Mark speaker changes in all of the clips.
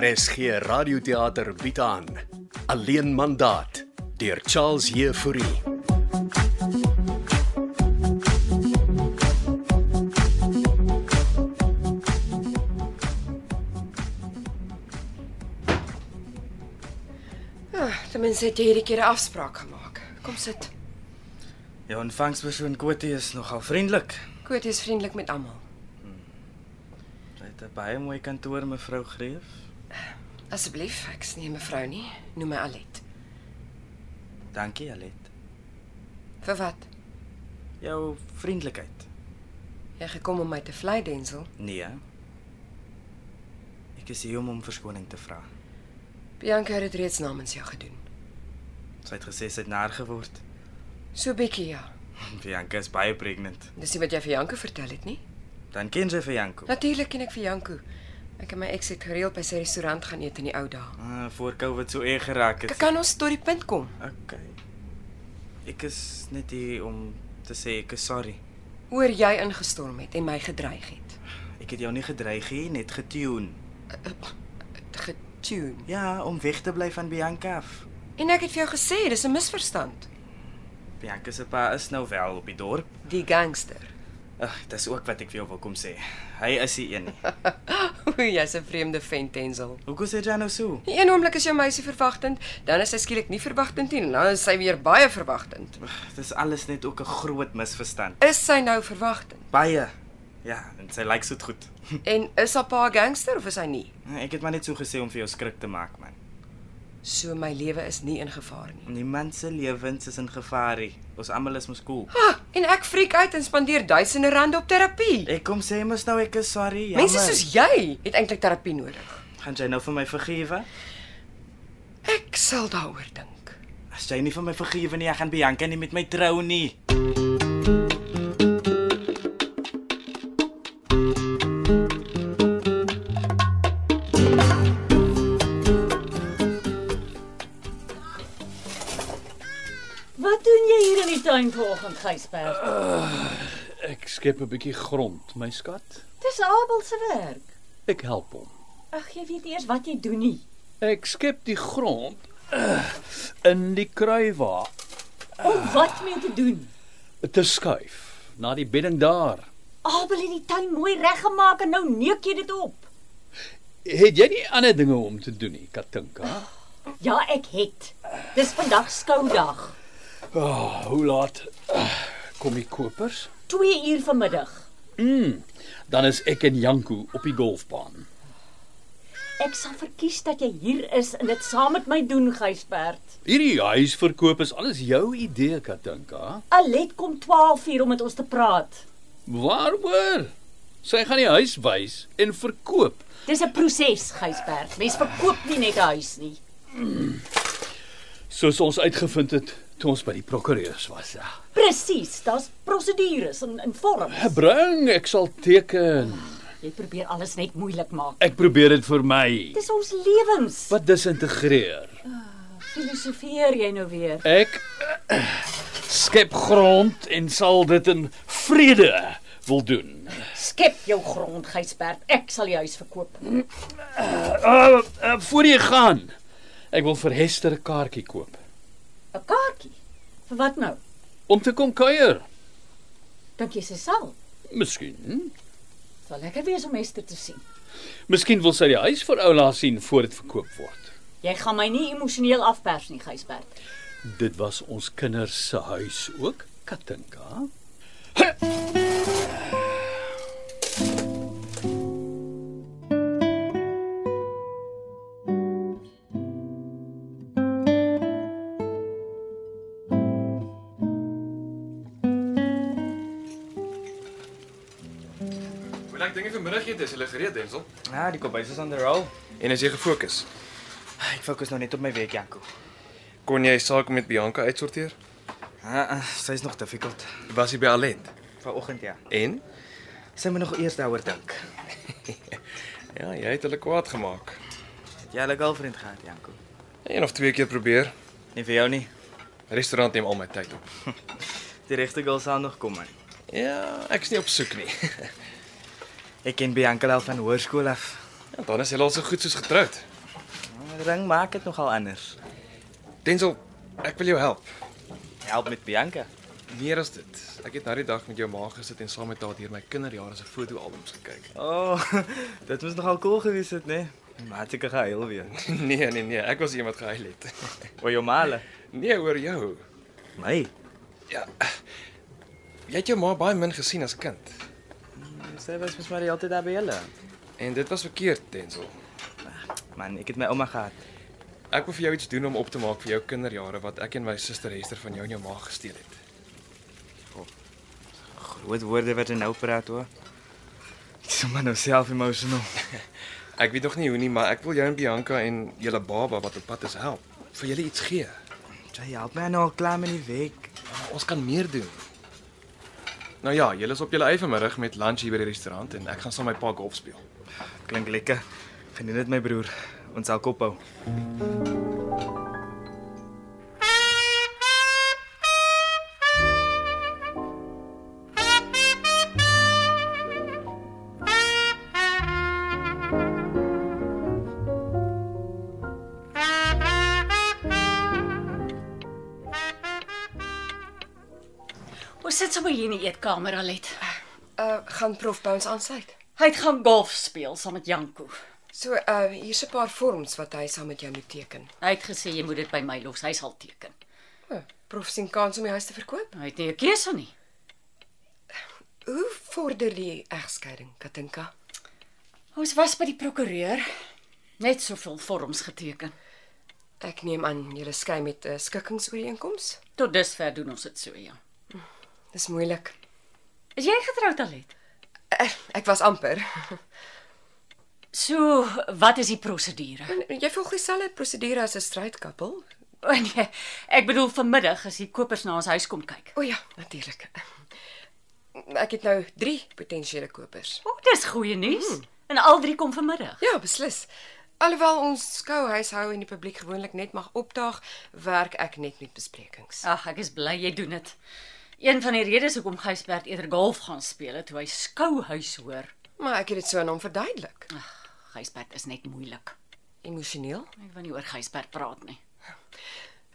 Speaker 1: RSG Radioteater bied aan Alleen mandaat deur Charles Jefouri.
Speaker 2: Ah, ten minste het jy hierdie keer 'n afspraak gemaak. Kom sit.
Speaker 3: Jou ontvangspersoon Kotie is nogal vriendelik.
Speaker 2: Koet is vriendelik met almal.
Speaker 3: Hy het 'n baie mooi kantoor, mevrou Greef.
Speaker 2: Asseblief, ek is nie 'n mevrou nie. Noem my Alet.
Speaker 3: Dankie, Alet.
Speaker 2: Vir wat?
Speaker 3: Jou vriendelikheid.
Speaker 2: Jy gekom om my te vlei, Denzel.
Speaker 3: Nee. hè? Ek is hier om om verskoning te vra.
Speaker 2: Bianca het dit reeds namens jou gedoen.
Speaker 3: Sy het gesê sy het naar geword.
Speaker 2: So bietjie ja.
Speaker 3: Bianca is baie pregnant.
Speaker 2: Dis nie wat jy vir Janko vertel het nie?
Speaker 3: Dan ken sy vir Janko.
Speaker 2: Natuurlik ken ek vir Janko. Ek en my ex het gereeld by sy restaurant gaan eet in die ou dae.
Speaker 3: Ah, voor Covid so eeg geraak
Speaker 2: Ek
Speaker 3: het.
Speaker 2: kan ons tot die punt kom.
Speaker 3: Okay. Ek is net hier om te sê ek is sorry.
Speaker 2: Oor jy ingestorm het en my gedreig het. Eh,
Speaker 3: Ek het jou nie gedreig nie, net getune.
Speaker 2: Getune.
Speaker 3: Ja, om weg te bly van Bianca af.
Speaker 2: En ek het vir jou gesê, dis 'n misverstand.
Speaker 3: Bianca se pa is nou wel op die dorp.
Speaker 2: Die gangster.
Speaker 3: Ag, dis ook wat ek vir jou wil kom sê. Hy is die een. nie.
Speaker 2: Oei, jy's 'n vreemde vent, Denzel.
Speaker 3: Hoekom sê jy nou so?
Speaker 2: Die een oomblik is jou meisie verwagtend, dan is sy skielik nie verwagtend nie, en dan is sy weer baie verwagtend.
Speaker 3: Dis alles net ook 'n groot misverstand.
Speaker 2: Is sy nou verwagtend?
Speaker 3: Baie. Ja, en sy lyk so goed.
Speaker 2: En is haar pa 'n gangster of is hy nie?
Speaker 3: Ek het maar net so gesê om vir jou skrik te maak, man.
Speaker 2: So my lewe is nie in gevaar nie.
Speaker 3: Niemand se lewens is in gevaar nie. Ons almal is mos cool.
Speaker 2: Ha, en ek freak uit en spandeer duisende rande op terapie.
Speaker 3: Ek kom sê mos nou ek is sorry. Jammer.
Speaker 2: Mense soos jy het eintlik terapie nodig.
Speaker 3: gaan jy nou vir my vergewe?
Speaker 2: Ek sal daaroor dink.
Speaker 3: As jy nie vir my vergewe nie, ek gaan Bianca nie met my trou nie.
Speaker 4: Wat doen jy hier in die tuin vanoggend, Gysbert?
Speaker 5: Ek skep 'n bietjie grond, my skat.
Speaker 4: Dis Abel se werk.
Speaker 5: Ek help hom.
Speaker 4: Ag, jy weet nie eers wat jy doen nie.
Speaker 5: Ek skep die grond uh, in die kruiwa
Speaker 4: Om wat mee te doen?
Speaker 5: te skuif na die bedding daar.
Speaker 4: Abel het die tuin mooi reggemaak en nou neuk jy dit op.
Speaker 5: Het jy nie ander dinge om te doen nie, Katinka?
Speaker 4: Ja, ek het. Dis vandag skoudag,
Speaker 5: Oh, hoe laat uh, kom die kopers?
Speaker 4: 2 uur vanmiddag.
Speaker 5: Mm, dan is ek en Janko op die golfbaan.
Speaker 4: Ek sal verkies dat jy hier is en dit saam met my doen, Gysbert.
Speaker 5: Hierdie huisverkoop is alles jou idee, Katinka.
Speaker 4: Alet kom 12 uur om met ons te praat.
Speaker 5: Waaroor? Sy gaan die huis wys en verkoop.
Speaker 4: Dis 'n proses, Gysbert. Mens verkoop nie net 'n huis nie.
Speaker 5: Soos ons uitgevind het toe ons by die prokureurs was. Ja.
Speaker 4: Presies, daar's prosedures en en vorms.
Speaker 5: Bring, ek sal teken.
Speaker 4: Jy probeer alles net moeilik maak.
Speaker 5: Ek probeer dit vir my.
Speaker 4: Dis ons lewens.
Speaker 5: Wat disintegreer?
Speaker 4: filosofeer jy nou weer?
Speaker 5: Ek skep grond en sal dit in vrede wil doen.
Speaker 4: Skep jou grond, Gysbert. Ek sal die huis verkoop.
Speaker 5: Uh, uh voor jy gaan. Ek wil vir Hester 'n kaartjie koop
Speaker 4: 'n Kaartjie. Vir wat nou?
Speaker 5: om te kom kuier.
Speaker 4: Dink jy sy sal?
Speaker 5: Miskien.
Speaker 4: Dit sal lekker wees om Esther te sien.
Speaker 5: Miskien wil sy die huis vir Oula sien voor dit verkoop word.
Speaker 4: Jy gaan my nie emosioneel afpers nie, Gysbert.
Speaker 5: Dit was ons kinders se huis ook, Katinka.
Speaker 6: Hoe lank dink jy vanmiddagete is hulle gereed, Denzel?
Speaker 3: Ja, die kombuis is on the roll.
Speaker 6: En as jy gefokus,
Speaker 3: Ek fokus nou net op my werk, Janko.
Speaker 6: kon jy saak met Bianca uitsorteer?
Speaker 3: Ah, ah, sy's nog difficult.
Speaker 6: Was jy by Alent?
Speaker 3: Vanoggend ja.
Speaker 6: En?
Speaker 3: Sy moet nog eers daaroor dink.
Speaker 6: Ja, jy het hulle kwaad gemaak.
Speaker 3: Het jy 'n girlfriend gehad, Janko?
Speaker 6: Een of twee keer probeer.
Speaker 3: Nee vir jou nie.
Speaker 6: Restaurant neem al my tyd op.
Speaker 3: Die regte girl sal nog kom man.
Speaker 6: Ja, ek's nie op soek nie.
Speaker 3: Ek ken Bianca al van hoërskool af.
Speaker 6: Ja, dan is hulle al so goed soos getroud.
Speaker 3: ring maak dit nogal anders.
Speaker 6: Denzel, ek wil jou help.
Speaker 3: Help met Bianca.
Speaker 6: Meer as dit. Ek het nou die dag met jou ma gesit en saam met haar deur my kinderjare se fotoalbums gekyk.
Speaker 3: O, oh, dit moes nogal cool gewees het, né? Nee? Maar het ek gehuil weer.
Speaker 6: Nee, nee, nee, ek was die een wat gehuil het.
Speaker 3: Oor jou male.
Speaker 6: Nee, oor jou.
Speaker 3: My,
Speaker 6: Ja. Jy het jou ma baie min gesien as kind.
Speaker 3: sy was mos maar die hele tyd daar by julle.
Speaker 6: En dit was verkeerd, Denzel.
Speaker 3: Man, ek het my ouma gehad.
Speaker 6: Ek wil vir jou iets doen om op te maak vir jou kinderjare wat ek en my suster Hester van jou en jou ma gesteel het.
Speaker 3: Groot woorde wat jy nou praat hoor. Ek is maar nou self emotional.
Speaker 6: Ek weet nog nie hoe nie, maar ek wil jou en Bianca en julle baba wat op pad is help. Vir julle iets gee.
Speaker 3: Jy help my nou al klaar met die week.
Speaker 6: Maar Ons kan meer doen. Nou ja, julle is op julle eie vanmiddag met lunch hier by die restaurant en ek gaan saam met my pa golf speel.
Speaker 3: Klink lekker. Geniet dit my broer. Ons sal kop hou.
Speaker 4: Ons sit sommer hier in die eetkamer alet.
Speaker 2: Uh gaan prof by ons aansluit.
Speaker 4: Hy het gaan golf speel saam met Janko.
Speaker 2: So uh hier's 'n paar vorms wat hy saam met jou moet teken.
Speaker 4: Hy het gesê jy moet dit by my los, hy sal teken.
Speaker 2: O, prof sien kans om die huis te verkoop.
Speaker 4: Hy het nie 'n keuse nie.
Speaker 2: Hoe vorder die egskeiding, Katinka?
Speaker 4: Ons was by die prokureur. Net soveel vorms geteken.
Speaker 2: Ek neem aan julle skei met 'n uh, skikkingsooreenkoms.
Speaker 4: Tot dusver doen ons dit so, ja.
Speaker 2: Dis moeilik.
Speaker 4: Is jy getroud alet?
Speaker 2: Uh, ek was amper.
Speaker 4: So, wat is die prosedure?
Speaker 2: Jy volg dieselfde prosedure as 'n struitkoppel.
Speaker 4: O nee, ek bedoel vanmiddag as die kopers na ons huis kom kyk.
Speaker 2: O ja, natuurlik. Ek het nou 3 potensiële kopers.
Speaker 4: O, dis goeie nuus. Hmm. En al drie kom vanmiddag.
Speaker 2: Ja, beslis. Alhoewel ons skouhuishou en die publiek gewoonlik net mag opdaag, werk ek net met besprekings.
Speaker 4: Ag, ek is bly jy doen dit. Een van die redes hoekom Gysbert eerder golf gaan speel het toe hy skouhuis hoor.
Speaker 2: Maar ek het dit so aan hom verduidelik.
Speaker 4: Gysbert is net moeilik.
Speaker 2: Emosioneel.
Speaker 4: Ek wil nie oor Gysbert praat nie.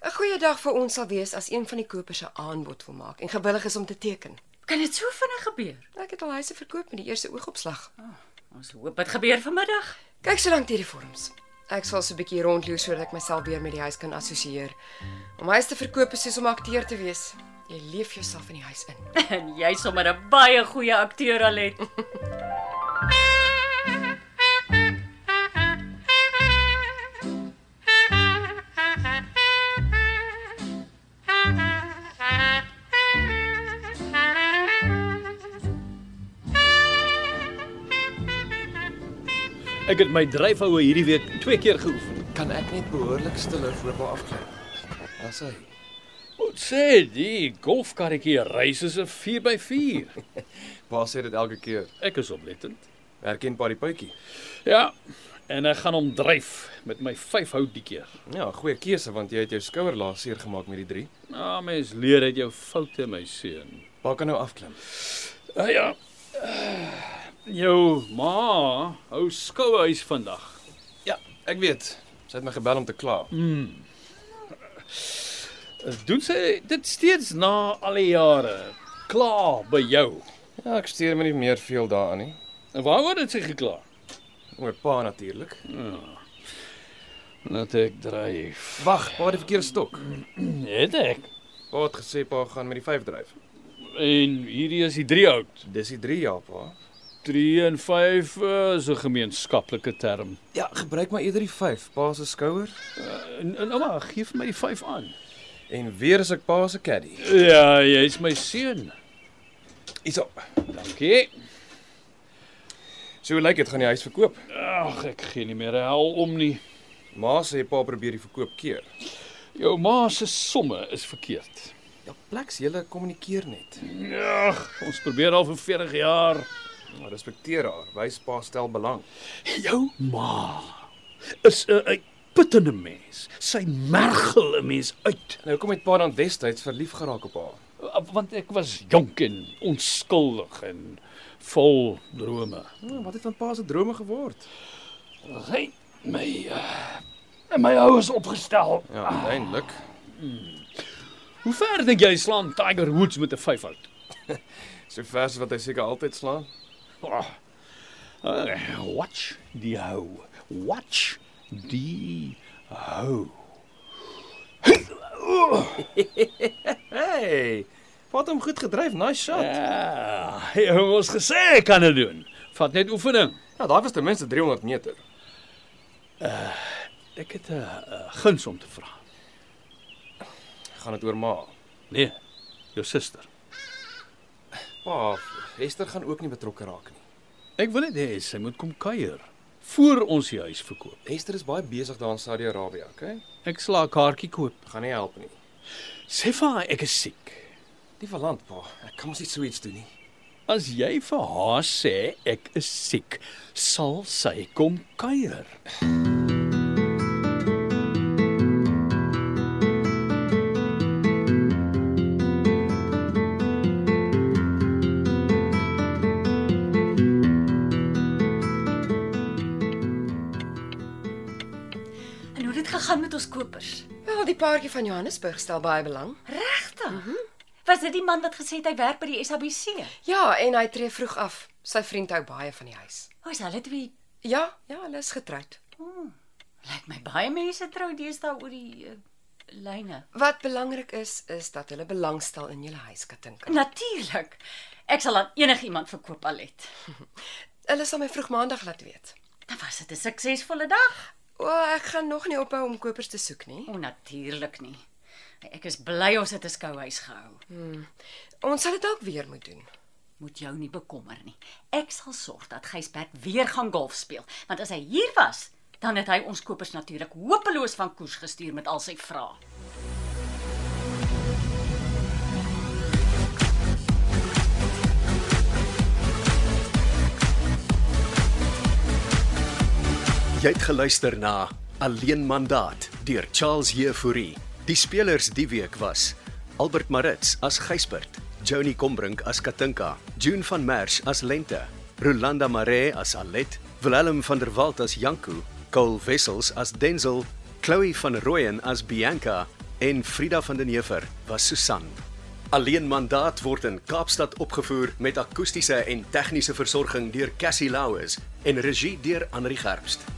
Speaker 2: 'n Goeie dag vir ons sal wees as een van die kopers 'n aanbod wil maak en gewillig is om te teken.
Speaker 4: Kan dit so vinnig gebeur?
Speaker 2: Ek het al huise verkoop met die eerste oogopslag.
Speaker 4: Ons hoop dit gebeur vanmiddag.
Speaker 2: Kyk so lank hierdie vorms. Ek sal so 'n bietjie rondloer sodat ek myself weer met die huis kan assosieer. Om huis te verkoop is soos om 'n akteur te wees. Jy leef jouself in die huis in.
Speaker 4: En jy's sommer 'n baie goeie akteur Alet.
Speaker 5: Ek het my dryfhoue hierdie week twee keer geoefen.
Speaker 6: Kan ek net behoorlik stiller voor my afklim? Daar's hy.
Speaker 5: Moet sê die golfkarretjie reis is 'n 4x4.
Speaker 6: Waar sê dit elke keer?
Speaker 5: Ek is oplettend.
Speaker 6: Herken pa die puitjie.
Speaker 5: Ja, en ek gaan hom dryf met my vyf hout die keer.
Speaker 6: Ja, goeie keuse want jy het jou skouer laas seer gemaak met die 3.
Speaker 5: Nou, mens leer uit jou foute, my seun.
Speaker 6: Pa kan nou afklim.
Speaker 5: Ah ja. Jou ma hou skouhuis vandag.
Speaker 6: Ja, ek weet. Sy het my gebel om te kla.
Speaker 5: Doen sy dit steeds na al die jare? Klaar by jou.
Speaker 6: Ja, ek steur my nie meer veel daaraan nie.
Speaker 5: En waaroor het sy gekla?
Speaker 6: Oor pa natuurlik.
Speaker 5: Dat ek dryf.
Speaker 6: Wag, pa het die verkeerde stok.
Speaker 5: Het ek.
Speaker 6: Pa het gesê pa gaan met die 5 dryf.
Speaker 5: En hierdie is die drie hout.
Speaker 6: Dis die 3 jaar pa.
Speaker 5: 3 en 5 is 'n gemeenskaplike term.
Speaker 6: Ja, gebruik maar eerder die 5, pa se skouer.
Speaker 5: En en ouma, gee vir my die 5 aan.
Speaker 6: En weer is ek pa se caddy.
Speaker 5: Ja, jy's my seun.
Speaker 6: Hierso.
Speaker 5: Dankie.
Speaker 6: So hoe lyk dit gaan die huis verkoop?
Speaker 5: Ag, ek gee nie meer 'n hel om nie.
Speaker 6: Ma sê pa probeer die verkoop keer.
Speaker 5: Jou ma se somme is verkeerd.
Speaker 6: Ja, pleks julle kommunikeer net.
Speaker 5: Ag, ons probeer al vir 40 jaar.
Speaker 6: Maar respekteer haar. Wys pa stel belang.
Speaker 5: Jou ma is 'n uitputtende mens. Sy mergel 'n mens uit.
Speaker 6: Nou hoekom het pa dan destyds verlief geraak op haar?
Speaker 5: Want ek was jonk en onskuldig en vol drome.
Speaker 6: Ja, Nou, wat het van pa se drome geword?
Speaker 5: Hy my uh, En my ou is opgestel.
Speaker 6: Ja, uiteindelik.
Speaker 5: Hoe ver dink jy slaan Tiger Woods met 'n vyfhout?
Speaker 6: So ver as wat hy seker altyd slaan.
Speaker 5: Oh. Uh, watch die hou. Watch die hou.
Speaker 6: Hey. Wat hom goed gedryf, nice shot. Ja,
Speaker 5: Ja, hy het ons gesê hy kan dit doen. Vat net oefening.
Speaker 6: ja daai was ten minste 300 meter.
Speaker 5: Ek het 'n uh, guns om te vra.
Speaker 6: Gaan dit oor ma.
Speaker 5: Nee, jou suster.
Speaker 6: Pa, Hester gaan ook nie betrokke raak nie.
Speaker 5: Ek wil net hê sy moet kom kuier voor ons die huis verkoop.
Speaker 6: Hester is baie besig daar in Saudi-Arabië, okay?
Speaker 5: Ek sla 'n kaartjie koop.
Speaker 6: Gaan nie help nie.
Speaker 5: Sê vir haar ek is siek.
Speaker 6: Die verland, pa. Ek kan mos nie so iets doen nie.
Speaker 5: As jy vir haar sê ek is siek, sal sy kom kuier.
Speaker 4: En hoe het dit gegaan met ons kopers?
Speaker 2: Wel, die paartjie van Johannesburg stel baie belang.
Speaker 4: Regtig? Mm -hmm. Was dit die man wat gesê het hy werk by die SABC?
Speaker 2: Ja, en hy tree vroeg af. Sy vriend hou baie van die huis.
Speaker 4: Hoe is hulle twee?
Speaker 2: Ja, ja, hulle is getroud.
Speaker 4: Lyk my baie mense trou deesdae oor die uh, lyne.
Speaker 2: Wat belangrik is, is dat hulle belangstel in julle huis, Katinka.
Speaker 4: Natuurlik. Ek sal aan enigiemand verkoop al het.
Speaker 2: Hulle sal my vroeg maandag laat weet.
Speaker 4: Dan was dit 'n suksesvolle dag.
Speaker 2: O, ek gaan nog nie ophou om kopers te soek nie.
Speaker 4: O, natuurlik nie. Ek is bly ons het 'n skouhuis gehou.
Speaker 2: Ons sal dit dalk weer moet doen.
Speaker 4: Moet jou nie bekommer nie. Ek sal sorg dat Gysbert weer gaan golf speel, want as hy hier was, dan het hy ons kopers natuurlik hopeloos van koers gestuur met al sy vrae.
Speaker 1: Jy het geluister na Alleen Mandaat deur Charles Jefouri. Die spelers die week was Albert Maritz as Gysbert, Johnny Combrink as Katinka, June van Merch as Lente, Rolanda Maree as Alet, Willem van der Walt as Janku, Cole Wessels as Denzel, Chloe van Rooyen as Bianca en Frida van den Heever was Susan. Alleen Mandaat word in Kaapstad opgevoer met akoestiese en tegniese versorging deur Cassie Lauis en regie deur Anri Gerbst.